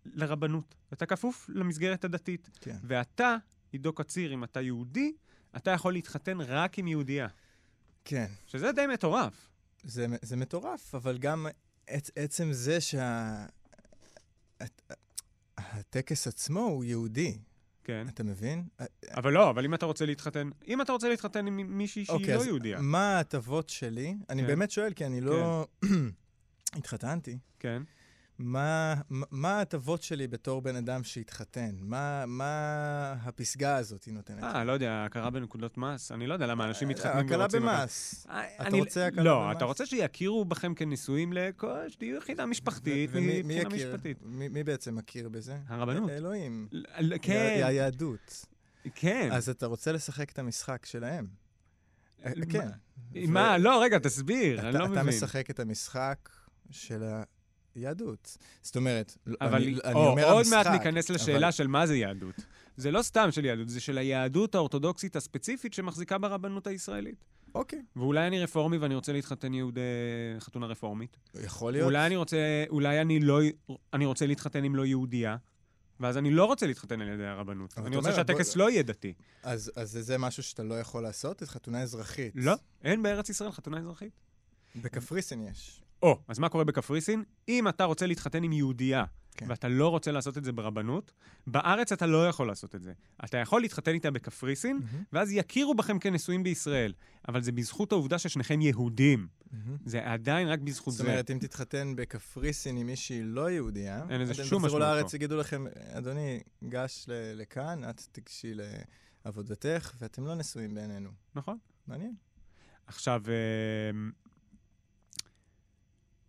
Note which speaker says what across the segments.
Speaker 1: לרבנות, אתה כפוף למסגרת הדתית,
Speaker 2: כן.
Speaker 1: ואתה, עידו קציר, אם אתה יהודי, אתה יכול להתחתן רק עם יהודייה,
Speaker 2: כן.
Speaker 1: שזה די מטורף.
Speaker 2: זה, זה מטורף, אבל גם עצ, עצם זה שה... הט- הטקס עצמו הוא יהודי,
Speaker 1: כן.
Speaker 2: אתה מבין?
Speaker 1: אבל לא, אבל אם אתה רוצה להתחתן, אם אתה רוצה להתחתן עם מישהי שהיא
Speaker 2: אוקיי,
Speaker 1: לא
Speaker 2: אז
Speaker 1: יהודייה,
Speaker 2: מה ההטבות שלי? אני
Speaker 1: כן.
Speaker 2: באמת שואל, כי אני לא... התחתנתי.
Speaker 1: כן.
Speaker 2: מה מה ההטבות שלי בתור בן אדם שהתחתן? מה מה הפסגה הזאת היא נותנת? אה,
Speaker 1: אה, לא יודע, הכרה בנקודות מס, אני לא יודע למה אנשים מתחתנים
Speaker 2: הקלה
Speaker 1: ורוצים... לקחת-
Speaker 2: במס.
Speaker 1: אה,
Speaker 2: אתה
Speaker 1: אני-
Speaker 2: רוצה הקלה
Speaker 1: לא,
Speaker 2: במס?
Speaker 1: אתה רוצה שיכירו בכם כנשואים לכל... שתהיו יחידה משפחתית,
Speaker 2: ומי מי
Speaker 1: מבחינה
Speaker 2: יכיר? אה,
Speaker 1: משפטית.
Speaker 2: מי מי בעצם מכיר בזה?
Speaker 1: הרבנות.
Speaker 2: אלוהים.
Speaker 1: ל- ל-
Speaker 2: יה-
Speaker 1: כן,
Speaker 2: היהדות.
Speaker 1: כן.
Speaker 2: אז אתה רוצה לשחק את המשחק שלהם. אה,
Speaker 1: מה-
Speaker 2: כן.
Speaker 1: מה, לא, רגע, תסביר, אני
Speaker 2: אתה-
Speaker 1: לא
Speaker 2: אתה
Speaker 1: מבין.
Speaker 2: משחק את המשחק של היהדות. זאת אומרת, לא-
Speaker 1: אבל
Speaker 2: אני אני
Speaker 1: או,
Speaker 2: אומר
Speaker 1: עוד
Speaker 2: המשחק.
Speaker 1: מעט ניכנס לשאלה
Speaker 2: אבל-
Speaker 1: של מה זה יהדות. זה לא סתם של יהדות, זה של היהדות האורתודוקסית הספציפית שמחזיקה ברבנות הישראלית.
Speaker 2: אוקיי,
Speaker 1: ואולי אני רפורמי ואני רוצה להתחתן יהודי חתונה רפורמית.
Speaker 2: יכול להיות.
Speaker 1: אולי אני רוצה, אולי אני לא, אני רוצה להתחתן עם לא יהודייה, ואז אני לא רוצה להתחתן על ידי הרבנות.
Speaker 2: אבל
Speaker 1: אני
Speaker 2: אתה
Speaker 1: רוצה
Speaker 2: אומר,
Speaker 1: שהטקס
Speaker 2: בוא-
Speaker 1: לא יהיה דתי.
Speaker 2: אז, אז זה- זה משהו שאתה לא יכול לעשות? את חתונה אזרחית.
Speaker 1: לא, אין בארץ ישראל חתונה אזרחית.
Speaker 2: בקפריסין יש.
Speaker 1: או, אז מה קורה בקפריסין? אם אתה רוצה להתחתן עם יהודייה,
Speaker 2: כן.
Speaker 1: ואתה לא רוצה לעשות את זה ברבנות, בארץ אתה לא יכול לעשות את זה. אתה יכול להתחתן איתה בקפריסין,
Speaker 2: מהמם,
Speaker 1: ואז יכירו בכם כנשואים בישראל. אבל זה בזכות העובדה ששניכם יהודים.
Speaker 2: מהמם.
Speaker 1: זה עדיין רק בזכות
Speaker 2: זאת
Speaker 1: זה.
Speaker 2: אומרת, אם תתחתן בקפריסין עם מישהי לא יהודייה,
Speaker 1: אין לזה שום
Speaker 2: אתם תחזרו
Speaker 1: משמעות
Speaker 2: לארץ,
Speaker 1: פה.
Speaker 2: יגידו לכם, אדוני, גש ל- לכאן, את תיגשי לעבודתך, ואתם לא נשואים בעינינו.
Speaker 1: נכון?
Speaker 2: מעניין.
Speaker 1: עכשיו, אמ,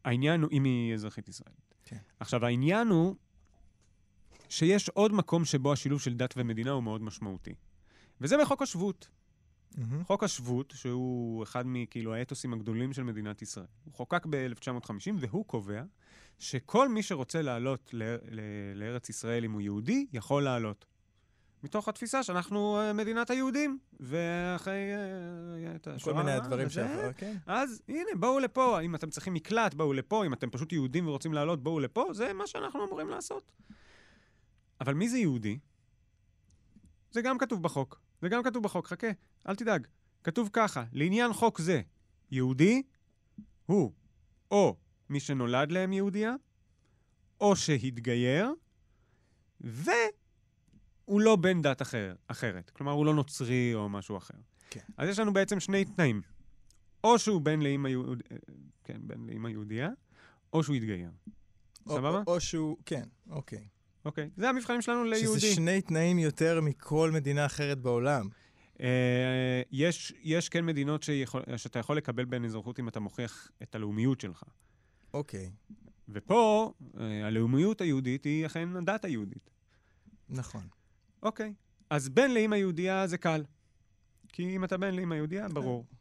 Speaker 1: העניין הוא, אם היא אזרחית ישראל.
Speaker 2: כן.
Speaker 1: עכשיו, העניין הוא שיש עוד מקום שבו השילוב של דת ומדינה הוא מאוד משמעותי. וזה בחוק השבות.
Speaker 2: מהמם.
Speaker 1: חוק השבות, שהוא אחד מכאילו האתוסים הגדולים של מדינת ישראל, הוא חוקק ב-1950 והוא קובע שכל מי שרוצה לעלות ל- ל- לארץ ישראל אם הוא יהודי, יכול לעלות. מתוך התפיסה שאנחנו אה, מדינת היהודים, ואחרי... אה, את
Speaker 2: כל
Speaker 1: השואה,
Speaker 2: מיני הדברים
Speaker 1: וזה,
Speaker 2: שעברו, כן.
Speaker 1: אז הנה, בואו לפה, אם אתם צריכים מקלט, בואו לפה, אם אתם פשוט יהודים ורוצים לעלות, בואו לפה, זה מה שאנחנו אמורים לעשות. אבל מי זה יהודי? זה גם כתוב בחוק. זה גם כתוב בחוק, חכה, אל תדאג. כתוב ככה, לעניין חוק זה, יהודי הוא או מי שנולד להם יהודייה, או שהתגייר, והוא לא בן דת אחר, אחרת. כלומר, הוא לא נוצרי או משהו אחר.
Speaker 2: כן.
Speaker 1: אז יש לנו בעצם שני תנאים. או שהוא בן לאימא יהוד... אה, כן, בן לאימא יהודייה, או שהוא התגייר.
Speaker 2: או-
Speaker 1: סבבה?
Speaker 2: או- או שהוא, כן, אוקיי.
Speaker 1: אוקיי. זה המבחנים שלנו ליהודי.
Speaker 2: שזה שני תנאים יותר מכל מדינה אחרת בעולם.
Speaker 1: אה, יש, יש כן מדינות שיכול, שאתה יכול לקבל בהן אזרחות אם אתה מוכיח את הלאומיות שלך.
Speaker 2: אוקיי,
Speaker 1: ופה, אה, הלאומיות היהודית היא אכן הדת היהודית.
Speaker 2: נכון.
Speaker 1: אוקיי. אז בן לאימא יהודייה זה קל. כי אם אתה בן לאימא יהודייה, ברור.
Speaker 2: כן.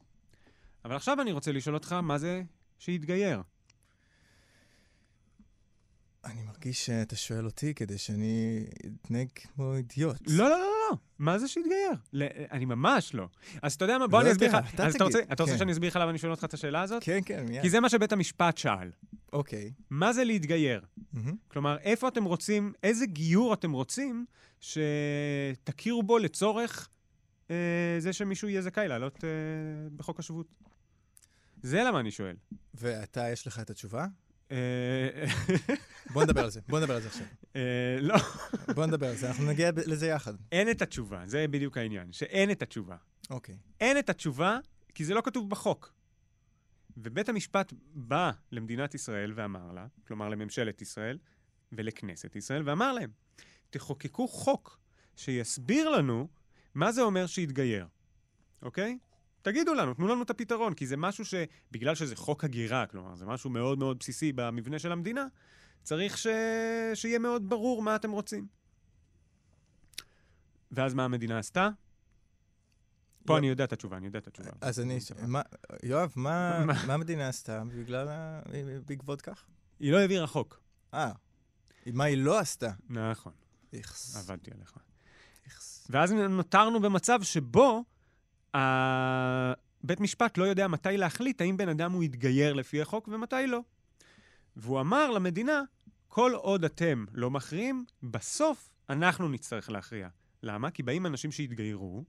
Speaker 1: אבל עכשיו אני רוצה לשאול אותך, מה זה שהתגייר?
Speaker 2: אני מרגיש שאתה שואל אותי כדי שאני אתנהג כמו אידיוט.
Speaker 1: לא, לא, לא, לא. מה זה שהתגייר? ל- אני ממש לא. אז אתה יודע מה? בוא
Speaker 2: לא
Speaker 1: אני אסביר לך.
Speaker 2: יודע, אתה
Speaker 1: אז אתה רוצה-
Speaker 2: תגיד.
Speaker 1: אתה רוצה
Speaker 2: כן.
Speaker 1: שאני אסביר לך למה אני שואל אותך את השאלה הזאת?
Speaker 2: כן, כן, מיד.
Speaker 1: כי זה מה שבית המשפט שאל.
Speaker 2: אוקיי.
Speaker 1: מה זה להתגייר?
Speaker 2: מהמם.
Speaker 1: כלומר, איפה אתם רוצים, איזה גיור אתם רוצים שתכירו בו לצורך אה, זה שמישהו יהיה זכאי לעלות אה, בחוק השבות? זה למה אני שואל.
Speaker 2: ואתה, יש לך את התשובה?
Speaker 1: אה,
Speaker 2: בוא נדבר על זה, בוא נדבר על זה עכשיו.
Speaker 1: אה, לא,
Speaker 2: בוא נדבר על זה, אנחנו נגיע ב- לזה יחד.
Speaker 1: אין את התשובה, זה בדיוק העניין, שאין את התשובה.
Speaker 2: אוקיי.
Speaker 1: אין את התשובה, כי זה לא כתוב בחוק. ובית המשפט בא למדינת ישראל ואמר לה, כלומר לממשלת ישראל ולכנסת ישראל, ואמר להם, תחוקקו חוק שיסביר לנו מה זה אומר שהתגייר, אוקיי? תגידו לנו, תנו לנו את הפתרון, כי זה משהו ש... בגלל שזה חוק הגירה, כלומר, זה משהו מאוד מאוד בסיסי במבנה של המדינה, צריך ש... שיהיה מאוד ברור מה אתם רוצים. ואז מה המדינה עשתה? פה
Speaker 2: לא.
Speaker 1: אני יודע את התשובה, אני יודע את התשובה.
Speaker 2: אז אני...
Speaker 1: בסדר.
Speaker 2: מה- יואב, מה
Speaker 1: מה?
Speaker 2: מה המדינה עשתה בגלל ה... בעקבות כך?
Speaker 1: היא לא העבירה חוק.
Speaker 2: אה, מה היא לא עשתה?
Speaker 1: נכון,
Speaker 2: איכס.
Speaker 1: עבדתי עליך.
Speaker 2: איכס.
Speaker 1: ואז נותרנו במצב שבו ה- בית משפט לא יודע מתי להחליט האם בן אדם הוא יתגייר לפי החוק ומתי לא. והוא אמר למדינה, כל עוד אתם לא מכריעים, בסוף אנחנו נצטרך להכריע. למה? כי באים אנשים שהתגיירו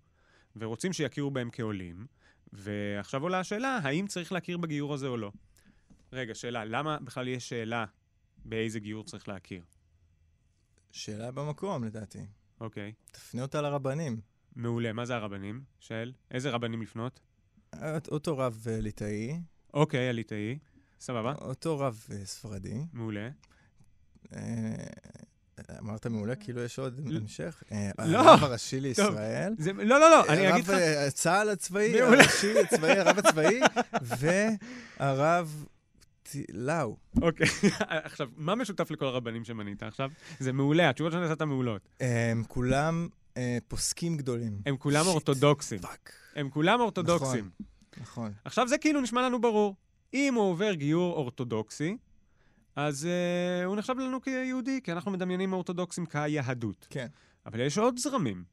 Speaker 1: ורוצים שיכירו בהם כעולים, ועכשיו עולה השאלה, האם צריך להכיר בגיור הזה או לא. רגע, שאלה, למה בכלל יש שאלה באיזה גיור צריך להכיר?
Speaker 2: שאלה במקום, לדעתי.
Speaker 1: אוקיי,
Speaker 2: תפנה אותה לרבנים.
Speaker 1: מעולה, מה זה הרבנים? של? איזה רבנים לפנות?
Speaker 2: אות- אותו רב אה, ליטאי,
Speaker 1: אוקיי, הליטאי, סבבה,
Speaker 2: אותו רב אה, ספרדי.
Speaker 1: מעולה.
Speaker 2: אה, אמרת מעולה, כאילו יש עוד
Speaker 1: לא.
Speaker 2: המשך. אה,
Speaker 1: לא.
Speaker 2: הרב הראשי
Speaker 1: טוב.
Speaker 2: לישראל.
Speaker 1: זה, לא, לא, לא, אני
Speaker 2: הרב,
Speaker 1: אגיד לך,
Speaker 2: אה, צה"ל הצבאי,
Speaker 1: מעולה.
Speaker 2: הראשי הצבאי, הרב הצבאי, והרב ט- לאו.
Speaker 1: אוקיי, עכשיו, מה משותף לכל הרבנים שמנית עכשיו? זה מעולה, התשובות שנתת מעולות.
Speaker 2: הם כולם אה, פוסקים גדולים.
Speaker 1: הם כולם
Speaker 2: שיט.
Speaker 1: אורתודוקסים,
Speaker 2: פאק.
Speaker 1: הם כולם אורתודוקסים.
Speaker 2: נכון.
Speaker 1: עכשיו, זה כאילו נשמע לנו ברור. אם הוא עובר גיור אורתודוקסי, אז uh, הוא נחשב לנו כיהודי, כי אנחנו מדמיינים אורתודוקסים כיהדות.
Speaker 2: כן.
Speaker 1: אבל יש עוד זרמים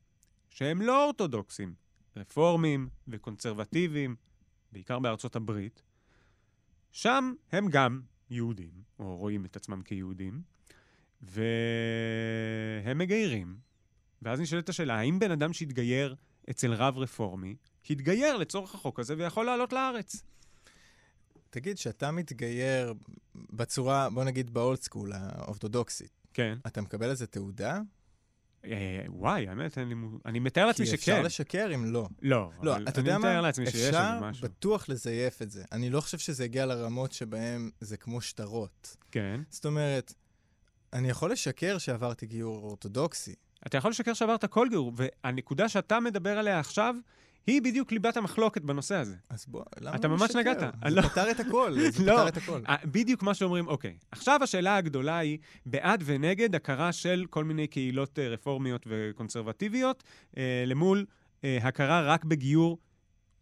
Speaker 1: שהם לא אורתודוקסים, רפורמים וקונסרבטיבים, בעיקר בארצות הברית, שם הם גם יהודים, או רואים את עצמם כיהודים, והם מגיירים. ואז נשאלת השאלה, האם בן אדם שהתגייר אצל רב רפורמי, התגייר לצורך החוק הזה ויכול לעלות לארץ?
Speaker 2: תגיד, שאתה מתגייר בצורה, בוא נגיד, באולד סקול, האורתודוקסית,
Speaker 1: כן.
Speaker 2: אתה מקבל איזה תעודה?
Speaker 1: אה, וואי, האמת, אין לי מ... אני מתאר לעצמי
Speaker 2: כי
Speaker 1: שכן.
Speaker 2: אפשר לשקר אם לא.
Speaker 1: לא,
Speaker 2: לא,
Speaker 1: אבל
Speaker 2: אתה יודע
Speaker 1: אני מתאר
Speaker 2: מה?
Speaker 1: לעצמי שיש איזה
Speaker 2: אפשר
Speaker 1: משהו.
Speaker 2: בטוח לזייף את זה. אני לא חושב שזה הגיע לרמות שבהן זה כמו שטרות.
Speaker 1: כן.
Speaker 2: זאת אומרת, אני יכול לשקר שעברתי גיור אורתודוקסי.
Speaker 1: אתה יכול לשקר שעברת כל גיור, והנקודה שאתה מדבר עליה עכשיו, היא בדיוק ליבת המחלוקת בנושא הזה.
Speaker 2: אז בוא, למה
Speaker 1: אתה
Speaker 2: לא
Speaker 1: ממש
Speaker 2: לשקר?
Speaker 1: נגעת.
Speaker 2: זה
Speaker 1: לא.
Speaker 2: פתר את הכל, זה
Speaker 1: לא.
Speaker 2: פתר את הכל.
Speaker 1: אה, בדיוק מה שאומרים, אוקיי, עכשיו השאלה הגדולה היא בעד ונגד הכרה של כל מיני קהילות אה, רפורמיות וקונסרבטיביות, אה, למול אה, הכרה רק בגיור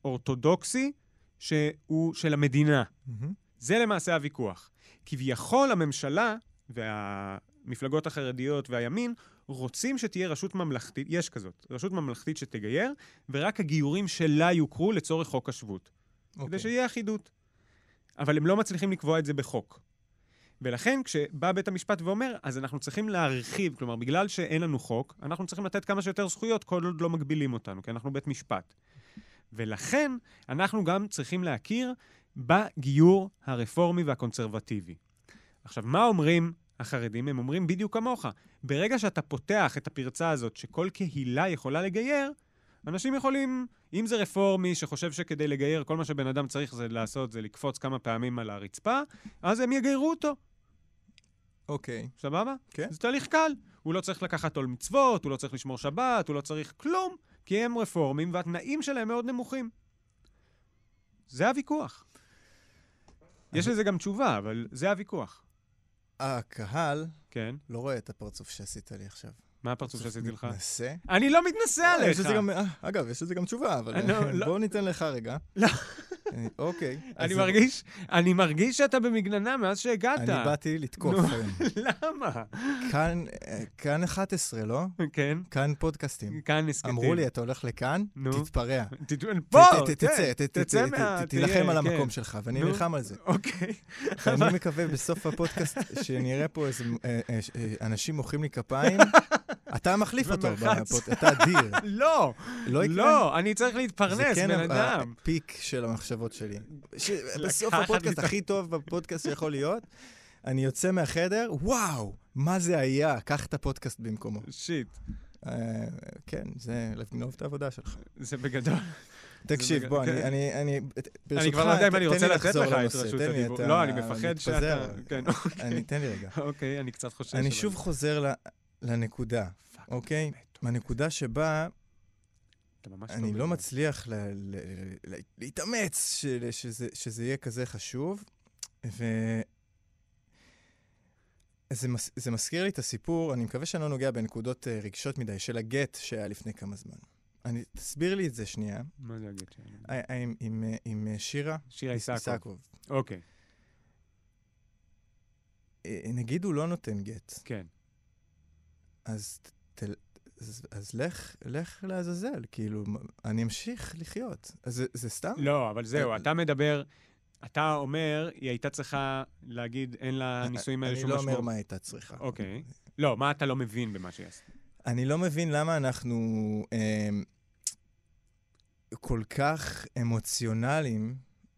Speaker 1: אורתודוקסי, שהוא של המדינה.
Speaker 2: מהמם.
Speaker 1: זה למעשה הוויכוח. כביכול הממשלה והמפלגות החרדיות והימין רוצים שתהיה רשות ממלכתית, יש כזאת, רשות ממלכתית שתגייר, ורק הגיורים שלה יוכרו לצורך חוק השבות. okay. כדי
Speaker 2: אוקיי.
Speaker 1: שיהיה אחידות. אבל הם לא מצליחים לקבוע את זה בחוק. ולכן כשבא בית המשפט ואומר, אז אנחנו צריכים להרחיב, כלומר, בגלל שאין לנו חוק, אנחנו צריכים לתת כמה שיותר זכויות כל עוד לא מגבילים אותנו, כי אנחנו בית משפט. ולכן אנחנו גם צריכים להכיר בגיור הרפורמי והקונסרבטיבי. עכשיו, מה אומרים החרדים? הם אומרים בדיוק כמוך. ברגע שאתה פותח את הפרצה הזאת שכל קהילה יכולה לגייר, אנשים יכולים, אם זה רפורמי שחושב שכדי לגייר כל מה שבן אדם צריך זה לעשות זה לקפוץ כמה פעמים על הרצפה, אז הם יגיירו אותו,
Speaker 2: אוקיי.
Speaker 1: סבבה?
Speaker 2: כן.
Speaker 1: זה תהליך קל. הוא לא צריך לקחת עול מצוות, הוא לא צריך לשמור שבת, הוא לא צריך כלום, כי הם רפורמים והתנאים שלהם מאוד נמוכים. זה הוויכוח. יש לזה גם תשובה, אבל זה הוויכוח.
Speaker 2: הקהל
Speaker 1: כן.
Speaker 2: לא רואה את הפרצוף שעשית לי עכשיו.
Speaker 1: מה הפרצוף שעשיתי לך?
Speaker 2: מתנשא.
Speaker 1: אני לא מתנשא
Speaker 2: אה,
Speaker 1: עליך.
Speaker 2: יש לזה גם- אה, אגב, יש לזה גם תשובה, אבל
Speaker 1: אה, לא,
Speaker 2: אה,
Speaker 1: לא.
Speaker 2: בואו ניתן לך רגע.
Speaker 1: לא.
Speaker 2: אה, אוקיי. אז
Speaker 1: אני מרגיש, אני מרגיש שאתה במגננה מאז שהגעת.
Speaker 2: אני באתי לתקוף
Speaker 1: נו.
Speaker 2: היום.
Speaker 1: למה?
Speaker 2: כאן, אה, כאן 11, לא?
Speaker 1: כן.
Speaker 2: כאן פודקאסטים.
Speaker 1: כאן נסקטים.
Speaker 2: אמרו לי, אתה הולך לכאן,
Speaker 1: נו.
Speaker 2: תתפרע.
Speaker 1: תתמודד.
Speaker 2: ת-
Speaker 1: פה,
Speaker 2: ת- ת-
Speaker 1: כן,
Speaker 2: תצא, ת- ת-
Speaker 1: תצא
Speaker 2: ת-
Speaker 1: מה...
Speaker 2: ת- תילחם
Speaker 1: תהיה,
Speaker 2: על
Speaker 1: כן.
Speaker 2: המקום שלך, ואני
Speaker 1: נו.
Speaker 2: נלחם על זה.
Speaker 1: אוקיי.
Speaker 2: אני מקווה בסוף הפודקאסט שנראה פה איזה אה, אה, ש- אה, אנשים מוחאים לי כפיים. אתה מחליף אותו,
Speaker 1: ומרחץ.
Speaker 2: בפוד- אתה אדיר.
Speaker 1: לא,
Speaker 2: לא יקרה?
Speaker 1: לא, אני צריך
Speaker 2: זה
Speaker 1: להתפרנס,
Speaker 2: כן
Speaker 1: בן
Speaker 2: ה-
Speaker 1: אדם.
Speaker 2: הפיק של המחשבות שלי. ש- בסוף
Speaker 1: לי
Speaker 2: הפודקאסט
Speaker 1: את ה-
Speaker 2: הכי טוב בפודקאסט שיכול להיות, אני יוצא מהחדר, וואו, מה זה היה? קח את הפודקאסט במקומו.
Speaker 1: שיט,
Speaker 2: אה, כן, זה לגנוב את העבודה שלך.
Speaker 1: זה בגדול.
Speaker 2: תקשיב,
Speaker 1: מג-
Speaker 2: בוא,
Speaker 1: כן.
Speaker 2: אני- אני... אני- ברשותך,
Speaker 1: אני כבר לא יודע אם
Speaker 2: ת-
Speaker 1: אני
Speaker 2: תן
Speaker 1: רוצה
Speaker 2: לי
Speaker 1: לתת
Speaker 2: לחזור
Speaker 1: לך את
Speaker 2: לנושא,
Speaker 1: רשות
Speaker 2: תן לי
Speaker 1: הדיבור.
Speaker 2: את ה-
Speaker 1: לא, אני מפחד שאתה...
Speaker 2: מתפזר.
Speaker 1: כן,
Speaker 2: אני-
Speaker 1: אוקיי.
Speaker 2: תן לי רגע.
Speaker 1: אוקיי, אני קצת חושש.
Speaker 2: אני
Speaker 1: אבל-
Speaker 2: שוב חוזר ל- לנקודה,
Speaker 1: פאק,
Speaker 2: אוקיי?
Speaker 1: באמת,
Speaker 2: מהנקודה שבה
Speaker 1: אתה ממש
Speaker 2: אני
Speaker 1: טוב
Speaker 2: לא
Speaker 1: בזה.
Speaker 2: מצליח ל- ל- ל- להתאמץ של- שזה- שזה יהיה כזה חשוב, ו... זה, מס, זה מזכיר לי את הסיפור, אני מקווה שאני לא נוגע בנקודות אה, רגשות מדי, של הגט שהיה לפני כמה זמן. אני, תסביר לי את זה שנייה,
Speaker 1: מה זה להגיד? ש-
Speaker 2: אה, אה, עם, עם, אה, עם אה, שירה
Speaker 1: שירה איסקו.
Speaker 2: איסקוב.
Speaker 1: אוקיי,
Speaker 2: אה, נגיד הוא לא נותן גט,
Speaker 1: כן.
Speaker 2: אז, ת, אז, אז לך, לך לעזאזל, כאילו, מ- אני אמשיך לחיות. אז זה, זה סתם?
Speaker 1: לא, אבל זהו,
Speaker 2: אה,
Speaker 1: אתה מדבר, אתה אומר, היא הייתה צריכה להגיד, אין
Speaker 2: אני-
Speaker 1: לנישואים האלה שום
Speaker 2: אני לא אומר
Speaker 1: משמעות.
Speaker 2: מה הייתה צריכה.
Speaker 1: אוקיי. לא, מה אתה לא מבין במה שהיא עשתה?
Speaker 2: אני לא מבין למה אנחנו אמ, כל כך אמוציונליים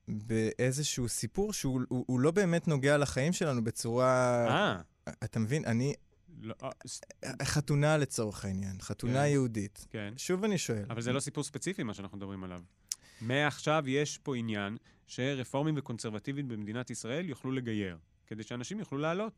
Speaker 2: באיזשהו סיפור שהוא הוא, הוא לא באמת נוגע לחיים שלנו בצורה...
Speaker 1: אה,
Speaker 2: אתה מבין? אני...
Speaker 1: לא, אה, ס-
Speaker 2: חתונה לצורך העניין, חתונה
Speaker 1: כן.
Speaker 2: יהודית.
Speaker 1: כן.
Speaker 2: שוב אני שואל.
Speaker 1: אבל זה לא סיפור ספציפי, מה שאנחנו מדברים עליו. מעכשיו יש פה עניין שרפורמים וקונסרבטיבים במדינת ישראל יוכלו לגייר, כדי שאנשים יוכלו לעלות.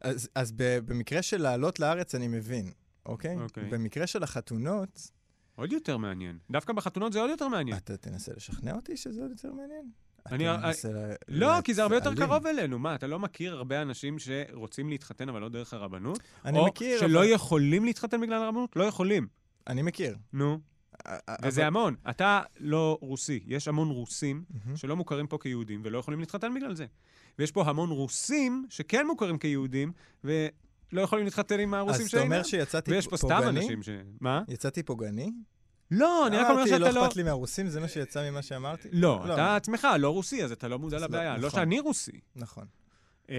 Speaker 2: אז, אז ב, במקרה של לעלות לארץ אני מבין, אוקיי?
Speaker 1: אוקיי.
Speaker 2: במקרה של החתונות,
Speaker 1: עוד יותר מעניין. דווקא בחתונות זה עוד יותר מעניין.
Speaker 2: אתה תנסה לשכנע אותי שזה עוד יותר מעניין?
Speaker 1: כן. אני-
Speaker 2: אתה מנסה לה-
Speaker 1: לא, כי זה הרבה יותר
Speaker 2: להעלים.
Speaker 1: קרוב אלינו. מה, אתה לא מכיר הרבה אנשים שרוצים להתחתן אבל לא דרך הרבנות?
Speaker 2: אני
Speaker 1: או
Speaker 2: מכיר,
Speaker 1: שלא
Speaker 2: אבל-
Speaker 1: יכולים להתחתן בגלל הרבנות? לא יכולים.
Speaker 2: אני מכיר.
Speaker 1: נו, וזה המון. אתה לא רוסי. יש המון רוסים
Speaker 2: מהמם.
Speaker 1: Mm-hmm. שלא מוכרים פה כיהודים ולא יכולים להתחתן בגלל זה. ויש פה המון רוסים שכן מוכרים כיהודים ולא יכולים להתחתן עם הרוסים
Speaker 2: אז אתה אומר
Speaker 1: שאינם.
Speaker 2: שיצאתי
Speaker 1: ויש פה סתם
Speaker 2: פוגעני?
Speaker 1: אנשים ש... מה?
Speaker 2: יצאתי פוגעני?
Speaker 1: לא, אני רק אומר שאתה
Speaker 2: אמרתי, לא
Speaker 1: לא...
Speaker 2: אכפת לי מהרוסים, זה מה שיצא ממה שאמרתי?
Speaker 1: לא, אתה עצמך לא רוסי, אז אתה לא מודע
Speaker 2: אז לא,
Speaker 1: לבעיה. לא
Speaker 2: נכון.
Speaker 1: שאני רוסי.
Speaker 2: נכון.
Speaker 1: אה,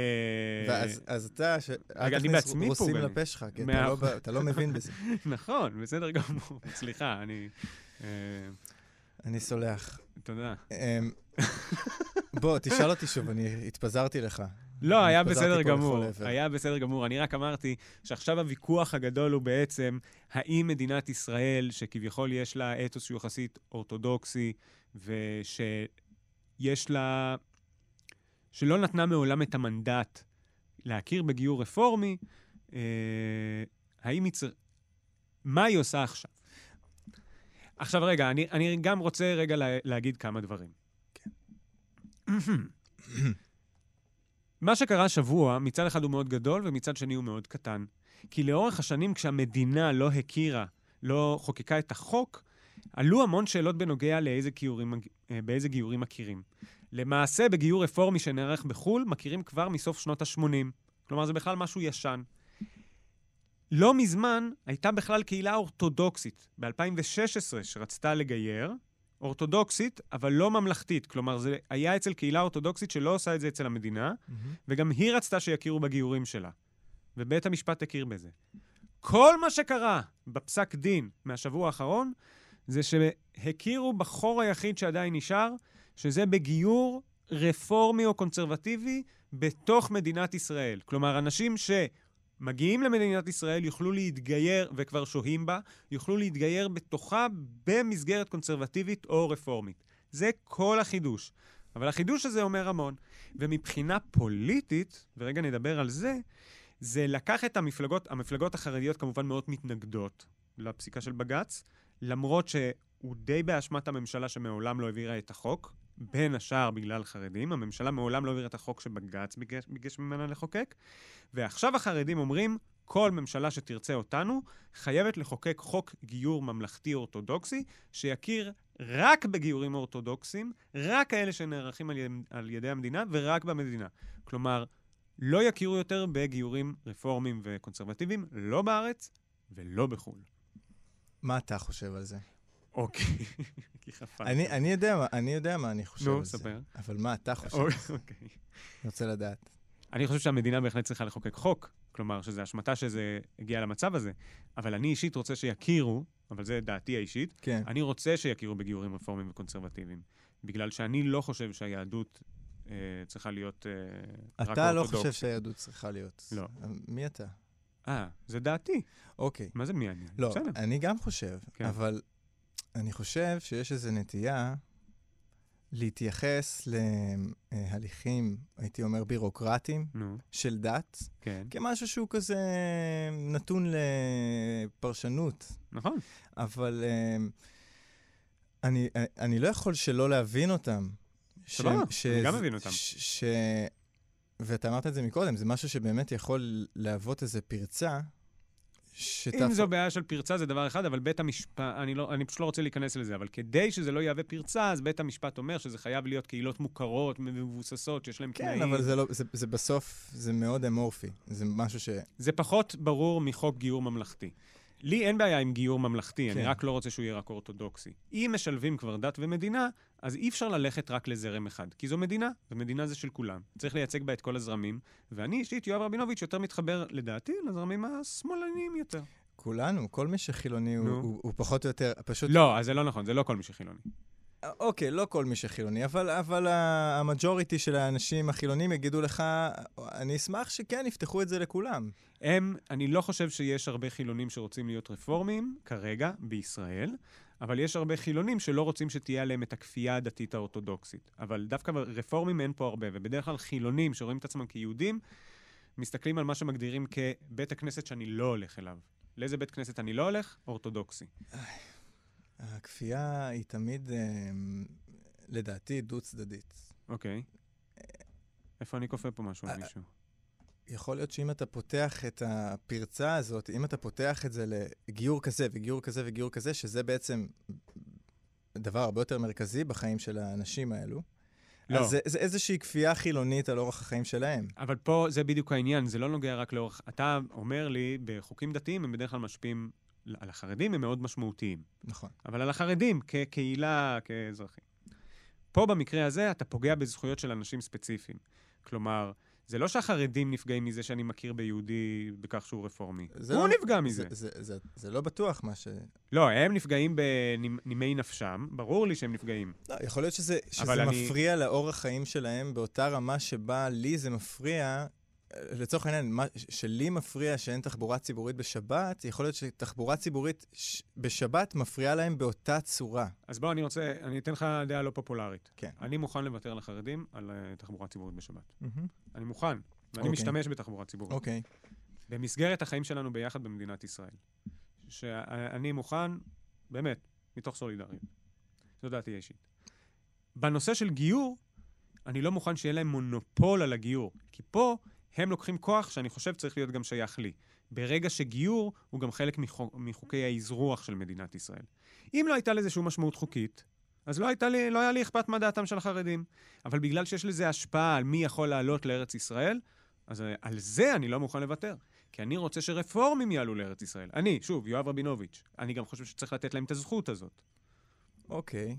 Speaker 2: ואז אז אתה, ש-
Speaker 1: רגע,
Speaker 2: אל
Speaker 1: אני
Speaker 2: תכניס
Speaker 1: בעצמי
Speaker 2: רוסים
Speaker 1: פוגעני.
Speaker 2: לפה שלך, כי אתה
Speaker 1: מאה
Speaker 2: לא ב- אתה לא מבין בזה.
Speaker 1: נכון, בסדר גמור. סליחה, אני... אה,
Speaker 2: אני סולח.
Speaker 1: תודה.
Speaker 2: אמ, בוא, תשאל אותי שוב, אני התפזרתי לך.
Speaker 1: לא,
Speaker 2: אני
Speaker 1: היה
Speaker 2: התפזרתי
Speaker 1: בסדר
Speaker 2: פה לכל
Speaker 1: גמור.
Speaker 2: עבר.
Speaker 1: היה בסדר גמור. אני רק אמרתי שעכשיו הוויכוח הגדול הוא בעצם האם מדינת ישראל, שכביכול יש לה אתוס שהוא יחסית אורתודוקסי, ושיש לה... שלא נתנה מעולם את המנדט להכיר בגיור רפורמי, אה, האם היא צריכה... מה היא עושה עכשיו? עכשיו רגע, אני, אני גם רוצה רגע לה, להגיד כמה דברים.
Speaker 2: כן.
Speaker 1: מה שקרה השבוע, מצד אחד הוא מאוד גדול ומצד שני הוא מאוד קטן. כי לאורך השנים, כשהמדינה לא הכירה, לא חוקקה את החוק, עלו המון שאלות בנוגע לאיזה גיורים, אה, באיזה גיורים מכירים. למעשה, בגיור רפורמי שנערך בחו"ל, מכירים כבר מסוף שנות ה-80. כלומר, זה בכלל משהו ישן. לא מזמן הייתה בכלל קהילה אורתודוקסית, ב-2016, שרצתה לגייר, אורתודוקסית, אבל לא ממלכתית. כלומר, זה היה אצל קהילה אורתודוקסית שלא עושה את זה אצל המדינה, וגם היא רצתה שיכירו בגיורים שלה. ובית המשפט הכיר בזה. כל מה שקרה בפסק דין מהשבוע האחרון, זה שהכירו בחור היחיד שעדיין נשאר, שזה בגיור רפורמי או קונסרבטיבי בתוך מדינת ישראל. כלומר, אנשים שמגיעים למדינת ישראל יוכלו להתגייר, וכבר שוהים בה, יוכלו להתגייר בתוכה במסגרת קונסרבטיבית או רפורמית. זה כל החידוש. אבל החידוש הזה אומר המון. ומבחינה פוליטית, ורגע נדבר על זה, זה לקח את המפלגות, המפלגות החרדיות כמובן מאוד מתנגדות לפסיקה של בג"ץ, למרות שהוא די באשמת הממשלה שמעולם לא העבירה את החוק, בין השאר בגלל חרדים, הממשלה מעולם לא העבירה את החוק שבג"ץ ביקש, ביקש ממנה לחוקק, ועכשיו החרדים אומרים, כל ממשלה שתרצה אותנו חייבת לחוקק חוק גיור ממלכתי אורתודוקסי, שיכיר רק בגיורים אורתודוקסיים, רק כאלה שנערכים על, יד- על ידי המדינה ורק במדינה. כלומר, לא יכירו יותר בגיורים רפורמיים וקונסרבטיביים, לא בארץ ולא בחו"ל.
Speaker 2: מה אתה חושב על זה?
Speaker 1: אוקיי, כי חפרת.
Speaker 2: אני אני יודע מה- אני יודע מה אני חושב
Speaker 1: נו,
Speaker 2: על זה.
Speaker 1: ספר.
Speaker 2: אבל מה אתה חושב?
Speaker 1: אוקיי.
Speaker 2: אני רוצה לדעת.
Speaker 1: אני חושב שהמדינה בהחלט צריכה לחוקק חוק, כלומר, שזו אשמתה שזה הגיע למצב הזה, אבל אני אישית רוצה שיכירו, אבל זה דעתי האישית,
Speaker 2: כן.
Speaker 1: אני רוצה שיכירו בגיורים רפורמיים וקונסרבטיביים, בגלל שאני לא חושב שהיהדות אה, צריכה להיות אה, רק
Speaker 2: אתה לא
Speaker 1: אורתודוקס.
Speaker 2: חושב שהיהדות צריכה להיות. אמ,
Speaker 1: לא.
Speaker 2: מי אתה?
Speaker 1: אה, זה דעתי.
Speaker 2: אוקיי.
Speaker 1: מה זה מי אני?
Speaker 2: לא,
Speaker 1: בסדר.
Speaker 2: אני גם חושב,
Speaker 1: כן.
Speaker 2: אבל אני חושב שיש איזו נטייה להתייחס להליכים, הייתי אומר, בירוקרטיים
Speaker 1: נו,
Speaker 2: של דת,
Speaker 1: כן.
Speaker 2: כמשהו שהוא כזה נתון לפרשנות.
Speaker 1: נכון.
Speaker 2: אבל אמ, אני, אני לא יכול שלא להבין אותם. ש-
Speaker 1: סבבה,
Speaker 2: ש-
Speaker 1: אני גם
Speaker 2: ש-
Speaker 1: מבין אותם.
Speaker 2: ש- ש- ואתה אמרת את זה מקודם, זה משהו שבאמת יכול להוות איזו פרצה. שתהפוך-
Speaker 1: אם זו בעיה של פרצה זה דבר אחד, אבל בית המשפט, אני, לא, אני פשוט לא רוצה להיכנס לזה, אבל כדי שזה לא יהווה פרצה, אז בית המשפט אומר שזה חייב להיות קהילות מוכרות, מבוססות, שיש להן
Speaker 2: כן,
Speaker 1: תנאים.
Speaker 2: אבל זה, לא, זה, זה בסוף, זה מאוד אמורפי. זה משהו ש...
Speaker 1: זה פחות ברור מחוק גיור ממלכתי. לי אין בעיה עם גיור ממלכתי, כן. אני
Speaker 2: כן.
Speaker 1: רק לא רוצה שהוא יהיה רק אורתודוקסי. אם משלבים כבר דת ומדינה, אז אי אפשר ללכת רק לזרם אחד, כי זו מדינה, ומדינה זה של כולם. צריך לייצג בה את כל הזרמים, ואני אישית, יואב רבינוביץ', יותר מתחבר, לדעתי, לזרמים השמאלניים יותר.
Speaker 2: כולנו, כל מי שחילוני הוא,
Speaker 1: נו.
Speaker 2: הוא, הוא פחות או יותר, פשוט...
Speaker 1: לא, אז זה לא נכון, זה לא כל מי שחילוני.
Speaker 2: אוקיי, לא כל מי שחילוני, אבל, אבל ה- המג'וריטי של האנשים החילונים יגידו לך, אני אשמח שכן יפתחו את זה לכולם.
Speaker 1: הם, אני לא חושב שיש הרבה חילונים שרוצים להיות רפורמים כרגע בישראל, אבל יש הרבה חילונים שלא רוצים שתהיה עליהם את הכפייה הדתית האורתודוקסית. אבל דווקא רפורמים אין פה הרבה, ובדרך כלל חילונים שרואים את עצמם כיהודים, מסתכלים על מה שמגדירים כבית הכנסת שאני לא הולך אליו. לאיזה בית כנסת אני לא הולך? אורתודוקסי.
Speaker 2: הכפייה היא תמיד, אה, לדעתי, דו-צדדית.
Speaker 1: אוקיי. איפה אני כופה פה משהו על מישהו?
Speaker 2: יכול להיות שאם אתה פותח את הפרצה הזאת, אם אתה פותח את זה לגיור כזה וגיור כזה וגיור כזה, שזה בעצם דבר הרבה יותר מרכזי בחיים של האנשים האלו,
Speaker 1: לא.
Speaker 2: אז זה, זה איזושהי כפייה חילונית על אורח החיים שלהם.
Speaker 1: אבל פה זה בדיוק העניין, זה לא נוגע רק לאורך... אתה אומר לי, בחוקים דתיים הם בדרך כלל משפיעים על החרדים, הם מאוד משמעותיים.
Speaker 2: נכון.
Speaker 1: אבל על החרדים, כקהילה, כאזרחים. פה במקרה הזה אתה פוגע בזכויות של אנשים ספציפיים. כלומר, זה לא שהחרדים נפגעים מזה שאני מכיר ביהודי בכך שהוא רפורמי.
Speaker 2: זה
Speaker 1: הוא
Speaker 2: לא-
Speaker 1: נפגע מזה.
Speaker 2: זה, זה, זה, זה, זה לא בטוח מה ש...
Speaker 1: לא, הם נפגעים בנימי נפשם, ברור לי שהם נפגעים.
Speaker 2: לא, יכול להיות שזה,
Speaker 1: אבל
Speaker 2: שזה
Speaker 1: אני-
Speaker 2: מפריע לאורח חיים שלהם באותה רמה שבה לי זה מפריע. אה, לצורך העניין, מה ש- שלי מפריע שאין תחבורה ציבורית בשבת, יכול להיות שתחבורה ציבורית ש... בשבת מפריעה להם באותה צורה.
Speaker 1: אז בוא, אני רוצה, אני אתן לך דעה לא פופולרית.
Speaker 2: כן.
Speaker 1: אני מוכן לוותר לחרדים על אה, תחבורה ציבורית בשבת. אני מוכן, ואני
Speaker 2: אוקיי.
Speaker 1: משתמש בתחבורה ציבורית.
Speaker 2: אוקיי.
Speaker 1: במסגרת החיים שלנו ביחד במדינת ישראל. שאני מוכן, באמת, מתוך סולידריות. זו דעתי האישית. בנושא של גיור, אני לא מוכן שיהיה להם מונופול על הגיור, כי פה הם לוקחים כוח שאני חושב צריך להיות גם שייך לי. ברגע שגיור הוא גם חלק מחוק, מחוקי האזרוח של מדינת ישראל. אם לא הייתה לזה שום משמעות חוקית, אז לא, הייתה לי, לא היה לי אכפת מה דעתם של החרדים. אבל בגלל שיש לזה השפעה על מי יכול לעלות לארץ ישראל, אז אה, על זה אני לא מוכן לוותר. כי אני רוצה שרפורמים יעלו לארץ ישראל. אני, שוב, יואב רבינוביץ', אני גם חושב שצריך לתת להם את הזכות הזאת.
Speaker 2: אוקיי.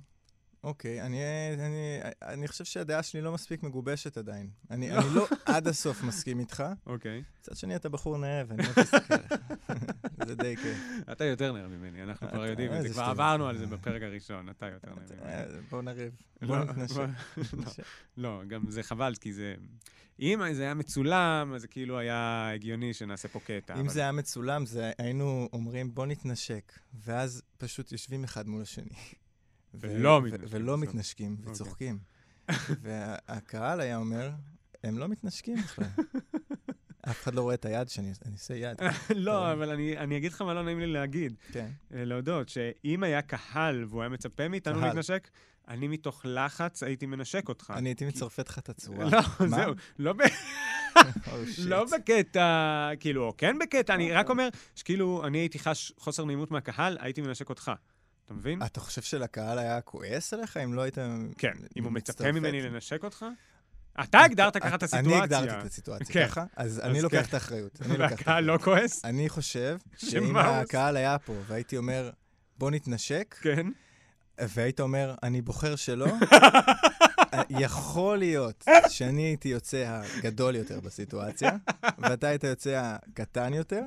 Speaker 2: אוקיי, אני, אני, אני חושב שהדעה שלי לא מספיק מגובשת עדיין. אני,
Speaker 1: לא.
Speaker 2: אני לא עד הסוף מסכים איתך.
Speaker 1: אוקיי.
Speaker 2: מצד שני, אתה בחור נאה ואני לא מסתכל עליך. זה די כיף.
Speaker 1: אתה יותר נער ממני, אנחנו כבר
Speaker 2: אתה-
Speaker 1: יודעים את זה.
Speaker 2: איזה
Speaker 1: כבר
Speaker 2: שטויות.
Speaker 1: עברנו על זה בפרק הראשון, אתה יותר נער ממני.
Speaker 2: אה, בואו נריב.
Speaker 1: לא,
Speaker 2: בואו נתנשק.
Speaker 1: בוא- לא, לא, גם זה חבל, כי זה... אם זה היה מצולם, אז זה כאילו היה הגיוני שנעשה פה קטע.
Speaker 2: אם
Speaker 1: לא, אבל-
Speaker 2: זה היה מצולם, זה היינו אומרים, בוא נתנשק, ואז פשוט יושבים אחד מול השני. ו-
Speaker 1: ולא
Speaker 2: ו-
Speaker 1: מתנשקים,
Speaker 2: ולא
Speaker 1: בסדר.
Speaker 2: מתנשקים,
Speaker 1: אוקיי.
Speaker 2: וצוחקים. והקהל היה אומר, הם לא מתנשקים בכלל. אף אחד לא רואה את היד שאני אני עושה יד.
Speaker 1: לא, אבל אני אני אגיד לך מה לא נעים לי להגיד,
Speaker 2: כן.
Speaker 1: אה, להודות, שאם היה קהל והוא היה מצפה מאיתנו
Speaker 2: קהל.
Speaker 1: להתנשק, אני מתוך לחץ הייתי מנשק אותך.
Speaker 2: אני הייתי מצרפת לך את הצורה.
Speaker 1: אה, לא,
Speaker 2: מה?
Speaker 1: זהו, לא ב...
Speaker 2: Oh, shit.
Speaker 1: לא בקטע, כאילו, או כן בקטע, אני רק אומר שכאילו, אני הייתי חש חוסר נעימות מהקהל, הייתי מנשק אותך. אתה מבין?
Speaker 2: אתה חושב שלקהל היה כועס עליך אם לא היית...
Speaker 1: כן. אם הוא מצפה
Speaker 2: מצטרפת?
Speaker 1: ממני לנשק אותך? אתה הגדרת ככה את הסיטואציה.
Speaker 2: אני הגדרתי את הסיטואציה
Speaker 1: כן.
Speaker 2: ככה, אז אני
Speaker 1: אז
Speaker 2: לוקח
Speaker 1: כן.
Speaker 2: את האחריות. אני לוקח את
Speaker 1: והקהל לא כועס?
Speaker 2: אני חושב שאם
Speaker 1: שמה הוא
Speaker 2: הקהל היה פה והייתי אומר, בוא נתנשק,
Speaker 1: כן.
Speaker 2: והיית אומר, אני בוחר שלא, יכול להיות שאני הייתי יוצא הגדול יותר בסיטואציה, ואתה היית יוצא הקטן יותר,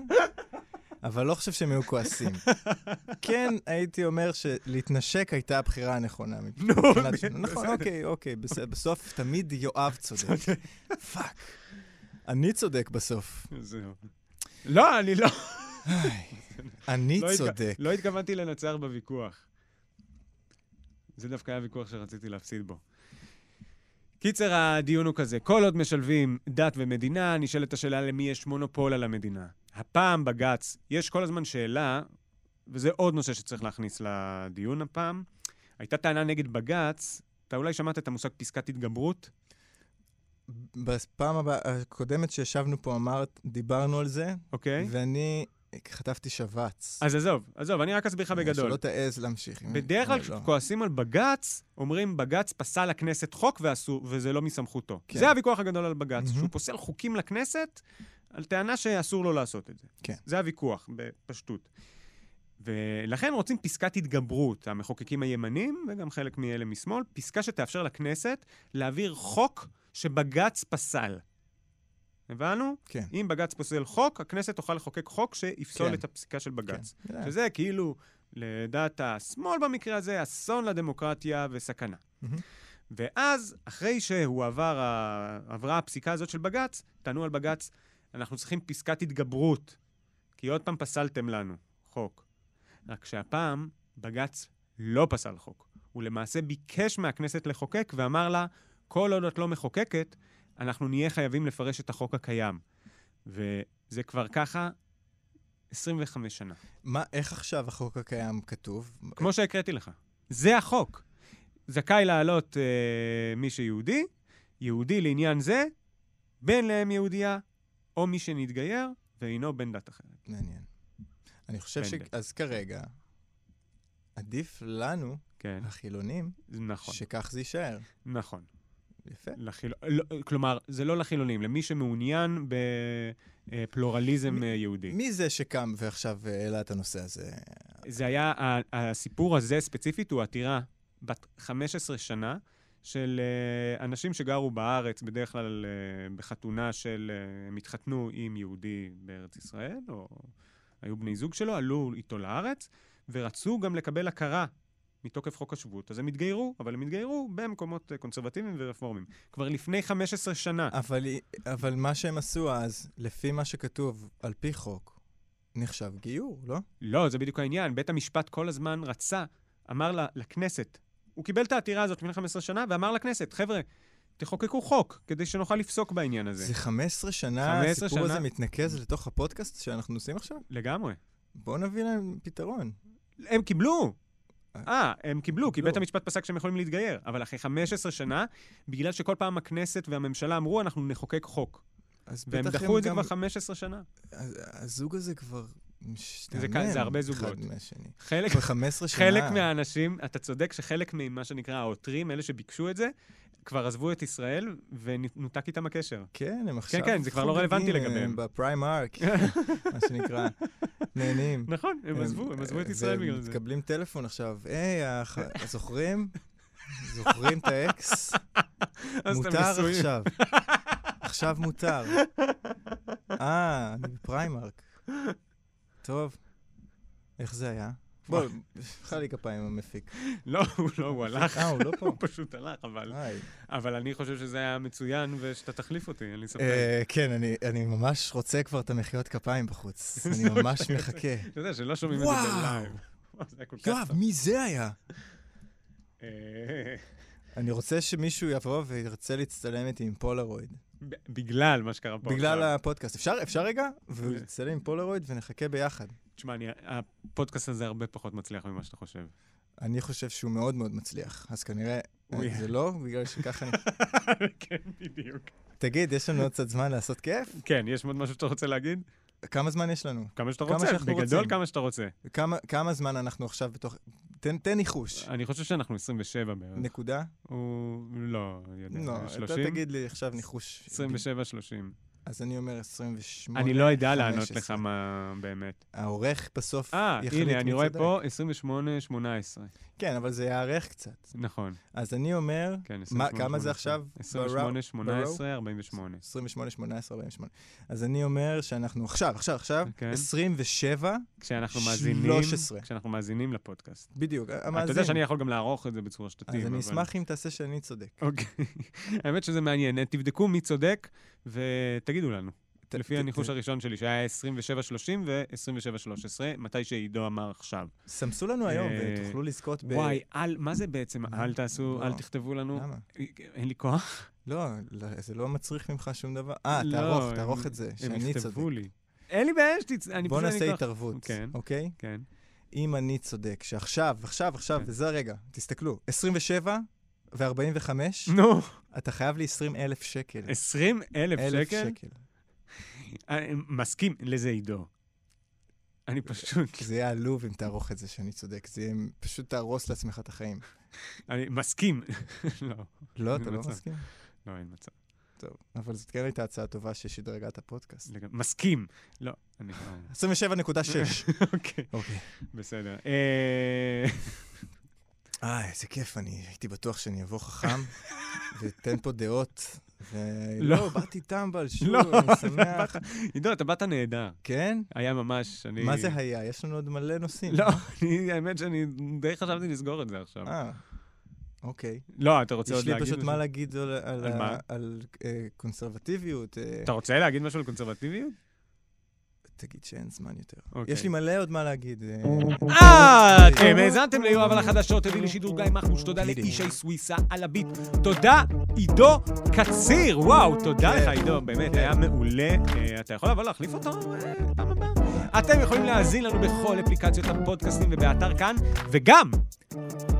Speaker 2: אבל לא חושב שהם היו כועסים. כן, הייתי אומר שלהתנשק הייתה הבחירה הנכונה.
Speaker 1: נו,
Speaker 2: מבחינת שלנו.
Speaker 1: נו,
Speaker 2: נכון,
Speaker 1: בסדר.
Speaker 2: אוקיי, אוקיי, בסדר. בסוף תמיד יואב צודק. פאק. אני צודק בסוף.
Speaker 1: זהו. לא, אני לא...
Speaker 2: אני
Speaker 1: לא התכ-
Speaker 2: צודק.
Speaker 1: לא התכוונתי לנצח בוויכוח. זה דווקא היה ויכוח שרציתי להפסיד בו. קיצר, הדיון הוא כזה. כל עוד משלבים דת ומדינה, נשאלת השאלה למי יש מונופול על המדינה. הפעם בג"ץ, יש כל הזמן שאלה, וזה עוד נושא שצריך להכניס לדיון הפעם. הייתה טענה נגד בג"ץ, אתה אולי שמעת את המושג פסקת התגברות?
Speaker 2: בפעם הבא- הקודמת שישבנו פה אמרת, דיברנו על זה,
Speaker 1: אוקיי.
Speaker 2: ואני חטפתי שבץ. אה,
Speaker 1: אז עזוב, עזוב, אני רק אסביר לך בגדול.
Speaker 2: שלא תעז להמשיך. עם-
Speaker 1: בדרך כלל
Speaker 2: לא, לא.
Speaker 1: כשכועסים על בג"ץ, אומרים בג"ץ פסל לכנסת חוק ואסור, וזה לא מסמכותו.
Speaker 2: כן. Mm-hmm.
Speaker 1: זה הוויכוח הגדול על בג"ץ,
Speaker 2: מהמם.
Speaker 1: שהוא פוסל חוקים לכנסת על טענה שאסור לו לעשות את זה.
Speaker 2: כן.
Speaker 1: זה הוויכוח, בפשטות. ולכן רוצים פסקת התגברות, המחוקקים הימנים, וגם חלק מאלה משמאל, פסקה שתאפשר לכנסת להעביר חוק שבג"ץ פסל. הבנו?
Speaker 2: כן.
Speaker 1: אם בג"ץ פוסל חוק, הכנסת תוכל לחוקק חוק שיפסול
Speaker 2: כן.
Speaker 1: את הפסיקה של
Speaker 2: כן.
Speaker 1: בג"ץ.
Speaker 2: לא.
Speaker 1: שזה כאילו, לדעת השמאל במקרה הזה, אסון לדמוקרטיה וסכנה.
Speaker 2: מהמם.
Speaker 1: ואז, אחרי שהועבר, ה- עברה הפסיקה הזאת של בג"ץ, טענו על בג"ץ, אנחנו צריכים פסקת התגברות, כי עוד פעם פסלתם לנו חוק. רק שהפעם בג"ץ לא פסל חוק. הוא למעשה ביקש מהכנסת לחוקק ואמר לה, כל עוד את לא מחוקקת, אנחנו נהיה חייבים לפרש את החוק הקיים. וזה כבר ככה 25 שנה.
Speaker 2: אה, מה, איך עכשיו החוק הקיים כתוב?
Speaker 1: כמו שהקראתי לך. זה החוק. זכאי לעלות אה, מי שיהודי, יהודי לעניין זה, בן לאם יהודייה, או מי שנתגייר, ואינו בן דת אחרת.
Speaker 2: מעניין. אני חושב ש...
Speaker 1: פנדל.
Speaker 2: אז כרגע, עדיף לנו,
Speaker 1: כן,
Speaker 2: החילונים,
Speaker 1: נכון,
Speaker 2: שכך זה יישאר.
Speaker 1: נכון.
Speaker 2: יפה.
Speaker 1: לחיל... לא, כלומר, זה לא לחילונים, למי שמעוניין בפלורליזם אה, יהודי.
Speaker 2: מי זה שקם ועכשיו אה, העלה את הנושא הזה?
Speaker 1: זה היה, ה- הסיפור הזה ספציפית הוא עתירה בת 15 שנה של אה, אנשים שגרו בארץ, בדרך כלל אה, בחתונה של, אה, הם התחתנו עם יהודי בארץ ישראל, או היו בני זוג שלו, עלו איתו לארץ, ורצו גם לקבל הכרה. מתוקף חוק השבות, אז הם התגיירו, אבל הם התגיירו במקומות אה, קונסרבטיביים ורפורמיים. כבר לפני 15 שנה.
Speaker 2: אבל, היא- אבל מה שהם עשו אז, לפי מה שכתוב, על פי חוק, נחשב גיור, לא?
Speaker 1: לא, זה בדיוק העניין. בית המשפט כל הזמן רצה, אמר לה, לכנסת, הוא קיבל את העתירה הזאת לפני 15 שנה, ואמר לכנסת, חבר'ה, תחוקקו חוק, כדי שנוכל לפסוק בעניין הזה.
Speaker 2: זה 15 שנה,
Speaker 1: 15
Speaker 2: הסיפור
Speaker 1: שנה.
Speaker 2: הזה מתנקז לתוך הפודקאסט שאנחנו עושים עכשיו?
Speaker 1: לגמרי.
Speaker 2: בואו נביא להם פתרון.
Speaker 1: הם קיבלו! אה, הם קיבלו, כי
Speaker 2: קיבלו.
Speaker 1: בית המשפט פסק שהם יכולים להתגייר. אבל אחרי 15 שנה, בגלל שכל פעם הכנסת והממשלה אמרו, אנחנו נחוקק חוק.
Speaker 2: אז
Speaker 1: והם
Speaker 2: בטח
Speaker 1: דחו את זה
Speaker 2: גם-
Speaker 1: כבר 15 שנה.
Speaker 2: אז- הזוג הזה כבר משתעמם.
Speaker 1: כ- זה הרבה זוגות.
Speaker 2: אחד מהשני.
Speaker 1: חלק
Speaker 2: כבר 15 שנה.
Speaker 1: חלק מהאנשים, אתה צודק שחלק ממה שנקרא העותרים, אלה שביקשו את זה, כבר עזבו את ישראל ונותק איתם הקשר.
Speaker 2: כן, הם עכשיו...
Speaker 1: כן, זה כבר לא
Speaker 2: חוגגים,
Speaker 1: רלוונטי
Speaker 2: הם
Speaker 1: לגביהם.
Speaker 2: בפריים ארק, מה שנקרא. נהנים.
Speaker 1: נכון, הם עזבו, הם
Speaker 2: אה,
Speaker 1: עזבו את ישראל בגלל זה.
Speaker 2: והם מקבלים טלפון עכשיו, היי, הח- זוכרים? זוכרים את האקס?
Speaker 1: אז אתם
Speaker 2: מותר
Speaker 1: נשואים.
Speaker 2: עכשיו. עכשיו מותר. אה, אני בפריימרק. טוב, איך זה היה? בוא, חל לי כפיים המפיק.
Speaker 1: לא, הוא לא, הוא הלך.
Speaker 2: אה, הוא לא פה.
Speaker 1: הוא פשוט הלך, אבל...
Speaker 2: היי.
Speaker 1: אבל אני חושב שזה היה מצוין, ושאתה תחליף אותי, אין לי ספק.
Speaker 2: אה, כן, אני- אני ממש רוצה כבר את המחיאות כפיים בחוץ.
Speaker 1: זה
Speaker 2: אני ממש מחכה.
Speaker 1: אתה יודע שלא שומעים את זה
Speaker 2: וואו.
Speaker 1: בלייב. וואו, זה היה כל כך
Speaker 2: יואב,
Speaker 1: טוב.
Speaker 2: מי זה היה?
Speaker 1: אה,
Speaker 2: אני רוצה שמישהו יבוא וירצה להצטלם איתי עם פולרויד.
Speaker 1: ב- בגלל מה שקרה פה.
Speaker 2: בגלל
Speaker 1: עכשיו.
Speaker 2: הפודקאסט. אפשר, אפשר רגע? והוא יצטלם עם פולרויד ונחכה ביחד.
Speaker 1: תשמע, אני- הפודקאסט הזה הרבה פחות מצליח ממה שאתה חושב.
Speaker 2: אני חושב שהוא מאוד מאוד מצליח, אז כנראה
Speaker 1: הוא יהיה.
Speaker 2: זה לא, בגלל שככה אני...
Speaker 1: כן, בדיוק.
Speaker 2: תגיד, יש לנו עוד קצת זמן לעשות כיף?
Speaker 1: כן, יש עוד משהו שאתה רוצה להגיד?
Speaker 2: כמה זמן יש לנו?
Speaker 1: כמה שאתה
Speaker 2: כמה
Speaker 1: רוצה,
Speaker 2: שאנחנו
Speaker 1: בגדול
Speaker 2: רוצים.
Speaker 1: כמה שאתה רוצה.
Speaker 2: כמה, כמה זמן אנחנו עכשיו בתוך... תן, תן ניחוש.
Speaker 1: אני חושב שאנחנו 27 בערך.
Speaker 2: נקודה?
Speaker 1: הוא... לא, אני יודע.
Speaker 2: לא, אתה
Speaker 1: 30?
Speaker 2: תגיד לי עכשיו ניחוש.
Speaker 1: 27, 30.
Speaker 2: אז אני אומר 28.
Speaker 1: אני לא יודע
Speaker 2: 15.
Speaker 1: לענות לך מה באמת.
Speaker 2: העורך בסוף
Speaker 1: אה,
Speaker 2: יחליט
Speaker 1: הנה, אני
Speaker 2: מי
Speaker 1: רואה
Speaker 2: צודק.
Speaker 1: פה 28, 18.
Speaker 2: כן, אבל זה יארך קצת.
Speaker 1: נכון,
Speaker 2: אז אני אומר...
Speaker 1: כן, 28,
Speaker 2: מה, כמה זה עכשיו?
Speaker 1: 28,
Speaker 2: בראו-
Speaker 1: 18, 48.
Speaker 2: 28, 18, 48. אז אני אומר שאנחנו עכשיו, עכשיו, עכשיו,
Speaker 1: כן.
Speaker 2: 27,
Speaker 1: כשאנחנו מאזינים,
Speaker 2: 13.
Speaker 1: כשאנחנו מאזינים לפודקאסט.
Speaker 2: בדיוק, המאזין.
Speaker 1: אתה יודע שאני יכול גם לערוך את זה בצורה שתתאים.
Speaker 2: אז אני
Speaker 1: אבל-
Speaker 2: אשמח אם תעשה שאני צודק.
Speaker 1: אוקיי. האמת שזה מעניין. תבדקו מי צודק ותגידו לנו.
Speaker 2: ת-
Speaker 1: לפי
Speaker 2: ת-
Speaker 1: הניחוש
Speaker 2: ת-
Speaker 1: הראשון שלי, שהיה 27-30 ו-27-13, מתי שעידו אמר עכשיו.
Speaker 2: סמסו לנו היום
Speaker 1: אה,
Speaker 2: ותוכלו לזכות ב...
Speaker 1: וואי, אל, מה זה בעצם? אל תעשו,
Speaker 2: לא.
Speaker 1: אל תכתבו לנו.
Speaker 2: למה?
Speaker 1: אין לי כוח.
Speaker 2: לא, לא, זה לא מצריך ממך שום דבר. אה,
Speaker 1: לא,
Speaker 2: תערוך,
Speaker 1: הם-
Speaker 2: תערוך את זה,
Speaker 1: הם
Speaker 2: שאני צודק.
Speaker 1: יכתבו לי. אין לי בעיה שתצ... אני
Speaker 2: בוא
Speaker 1: פשוט אין לי
Speaker 2: נעשה
Speaker 1: כוח.
Speaker 2: התערבות,
Speaker 1: כן.
Speaker 2: אוקיי?
Speaker 1: כן.
Speaker 2: אם אני צודק, שעכשיו, עכשיו, עכשיו,
Speaker 1: כן.
Speaker 2: וזה הרגע, תסתכלו, 27 ו-45,
Speaker 1: נו,
Speaker 2: אתה חייב לי 20 אלף שקל.
Speaker 1: 20 אלף
Speaker 2: אלף
Speaker 1: שקל? אני מסכים לזה עידו. אני פשוט,
Speaker 2: כי זה יהיה עלוב אם תערוך את זה שאני צודק, זה יהיה פשוט תהרוס לעצמך את החיים.
Speaker 1: אני מסכים. לא,
Speaker 2: לא, אתה לא
Speaker 1: מצב.
Speaker 2: מסכים?
Speaker 1: לא, אין מצב.
Speaker 2: טוב, אבל זאת כן הייתה הצעה טובה ששדרגה את הפודקאסט.
Speaker 1: לגמרי. מסכים. לא, אני לא...
Speaker 2: 27.6.
Speaker 1: אוקיי,
Speaker 2: אוקיי.
Speaker 1: בסדר. אה,
Speaker 2: אה, איזה כיף, אני הייתי בטוח שאני אבוא חכם, ואתן פה דעות. ו-
Speaker 1: לא.
Speaker 2: לא, באתי טמבל, שוב,
Speaker 1: לא,
Speaker 2: אני
Speaker 1: אתה באת-
Speaker 2: שמח.
Speaker 1: עידו, אתה באת נהדר.
Speaker 2: כן?
Speaker 1: היה ממש, אני...
Speaker 2: מה זה היה? יש לנו עוד מלא נושאים.
Speaker 1: לא, אני- האמת שאני די חשבתי לסגור את זה עכשיו.
Speaker 2: אה, אוקיי.
Speaker 1: לא, אתה רוצה עוד
Speaker 2: יש לי
Speaker 1: להגיד
Speaker 2: פשוט
Speaker 1: משהו?
Speaker 2: מה להגיד על- על
Speaker 1: על
Speaker 2: ה-
Speaker 1: מה?
Speaker 2: על אה, קונסרבטיביות. אה,
Speaker 1: אתה רוצה להגיד משהו על קונסרבטיביות?
Speaker 2: תגיד שאין זמן יותר.
Speaker 1: אוקיי.
Speaker 2: יש לי מלא עוד מה להגיד. אה,
Speaker 1: אה,
Speaker 2: אוקיי.
Speaker 1: אתם האזנתם ליואב על החדשות, הביא לשידור גיא מחמוש, תודה
Speaker 2: בדיוק.
Speaker 1: לאישי סוויסה על הביט. תודה, עידו קציר, וואו, תודה
Speaker 2: כן.
Speaker 1: לך עידו, באמת, היה מעולה. אה, אתה יכול לבוא להחליף אותו אה, פעם הבאה? אתם יכולים להאזין לנו בכל אפליקציות הפודקאסטים ובאתר כאן, וגם,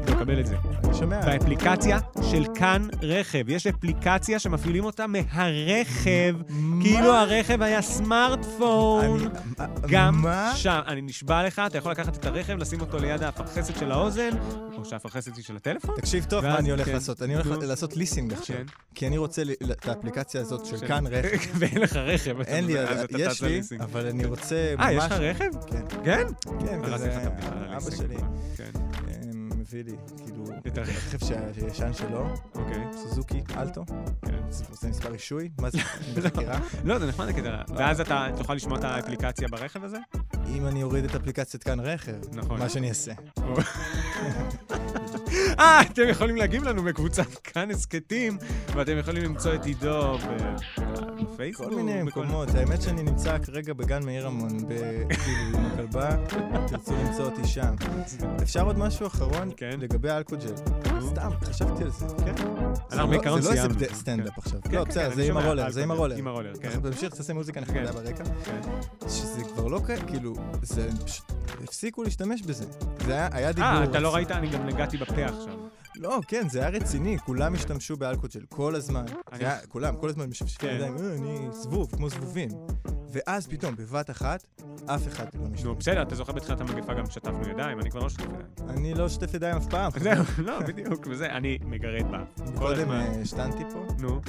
Speaker 1: תקבל את זה,
Speaker 2: אני שומע.
Speaker 1: באפליקציה של כאן רכב. יש אפליקציה שמפעילים אותה מהרכב, כאילו הרכב היה סמארטפון.
Speaker 2: אני- מה-
Speaker 1: גם
Speaker 2: מה?
Speaker 1: שם, אני נשבע לך, אתה יכול לקחת את הרכב, לשים אותו ליד הפרחסת של האוזן, או שהפרחסת היא של הטלפון?
Speaker 2: תקשיב טוב
Speaker 1: ואז-
Speaker 2: מה אני הולך
Speaker 1: כן.
Speaker 2: לעשות. אני הולך
Speaker 1: נו.
Speaker 2: לעשות ליסינג עכשיו.
Speaker 1: כן.
Speaker 2: כי אני רוצה ל- את האפליקציה הזאת של כאן רכב.
Speaker 1: ואין לך רכב. אתה-
Speaker 2: אין לי, אה,
Speaker 1: אז אתה
Speaker 2: יש
Speaker 1: תעשה ליסינג.
Speaker 2: לי, אבל אני רוצה ממש...
Speaker 1: אה, יש לך רכב?
Speaker 2: כן,
Speaker 1: כן?
Speaker 2: כן,
Speaker 1: הרסתי לך את
Speaker 2: כזה,
Speaker 1: הבדיחה על
Speaker 2: אבא
Speaker 1: הליסינג.
Speaker 2: שלי
Speaker 1: כן,
Speaker 2: אה, מביא לי, כאילו,
Speaker 1: את הרכב.
Speaker 2: הרכב שה- הישן שלו,
Speaker 1: אוקיי.
Speaker 2: סוזוקי, אלטו,
Speaker 1: כן.
Speaker 2: זה זה מספר רישוי, מה זה, בחקירה.
Speaker 1: לא, זה נחמד הקטע. ואז אתה תוכל לשמוע את האפליקציה ברכב הזה?
Speaker 2: אם אני אוריד את אפליקציית כאן רכב,
Speaker 1: נכון.
Speaker 2: מה שאני אעשה.
Speaker 1: אה, אתם יכולים להגיב לנו בקבוצת כאן הסכתים, ואתם יכולים למצוא את עידו ב- בפייסבוק.
Speaker 2: כל מיני
Speaker 1: כאילו, בכל-
Speaker 2: מקומות, האמת שאני נמצא כרגע בגן מאיר המון, ב- כאילו, עם הכלבה, אם תרצו למצוא אותי שם. אפשר עוד משהו אחרון?
Speaker 1: כן.
Speaker 2: לגבי אלכוג'ל. אה, סתם, חשבתי על זה.
Speaker 1: אנחנו בעיקרון
Speaker 2: זה לא
Speaker 1: סיימנו.
Speaker 2: איזה בד- סטנדאפ עכשיו.
Speaker 1: כן,
Speaker 2: לא,
Speaker 1: כן, כן,
Speaker 2: בסדר, זה
Speaker 1: אני
Speaker 2: עם
Speaker 1: שומע,
Speaker 2: הרולר,
Speaker 1: אל
Speaker 2: זה עם
Speaker 1: תדאג,
Speaker 2: הרולר.
Speaker 1: עם הרולר, כן.
Speaker 2: אנחנו נמשיך, תעשה מוזיקה נחמדה ברקע.
Speaker 1: כן.
Speaker 2: שזה כבר לא קיים, כאילו, זה פשוט, הפסיקו להשתמש בזה. זה היה- היה דיבור.
Speaker 1: אה, אתה לא
Speaker 2: רציני.
Speaker 1: ראית? אני גם נגעתי בפה עכשיו.
Speaker 2: לא, כן, זה היה רציני, כולם השתמשו באלכוג'ל כל הזמן.
Speaker 1: אני-
Speaker 2: זה היה, כולם, כל הזמן משפשפים
Speaker 1: כן.
Speaker 2: ידיים, "אה, אני זבוב, כמו זבובים. ואז פתאום, בבת אחת, אף אחד לא
Speaker 1: נו,
Speaker 2: משתמש.
Speaker 1: בסדר, אתה זוכר בתחילת המגפה גם שטפנו ידיים, אני כבר לא שטף ידיים.
Speaker 2: אני לא אשתף ידיים אף פעם.
Speaker 1: זהו, לא, בדיוק, וזה, אני מגרד בה. כל
Speaker 2: קודם
Speaker 1: הזמן.
Speaker 2: אה, השתנתי פה,
Speaker 1: נו,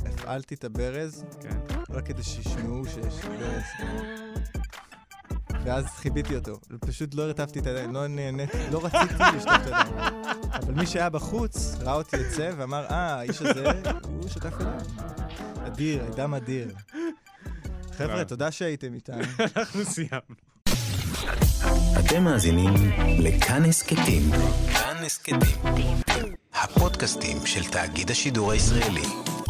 Speaker 2: והפעלתי את הברז,
Speaker 1: כן.
Speaker 2: רק כדי שישמעו שיש ברז. ואז חיביתי אותו. פשוט לא הרטבתי את הידיים, לא נהניתי, לא רציתי לשטוף את הידיים. אבל מי שהיה בחוץ ראה אותי יוצא ואמר, אה, האיש הזה, הוא שטף ידיים. אדיר, אדם אדיר. חבר'ה, תודה שהייתם איתנו.
Speaker 1: אנחנו סיימנו.
Speaker 3: אתם מאזינים לכאן הסכתים. כאן הסכתים. הפודקאסטים של תאגיד השידור הישראלי.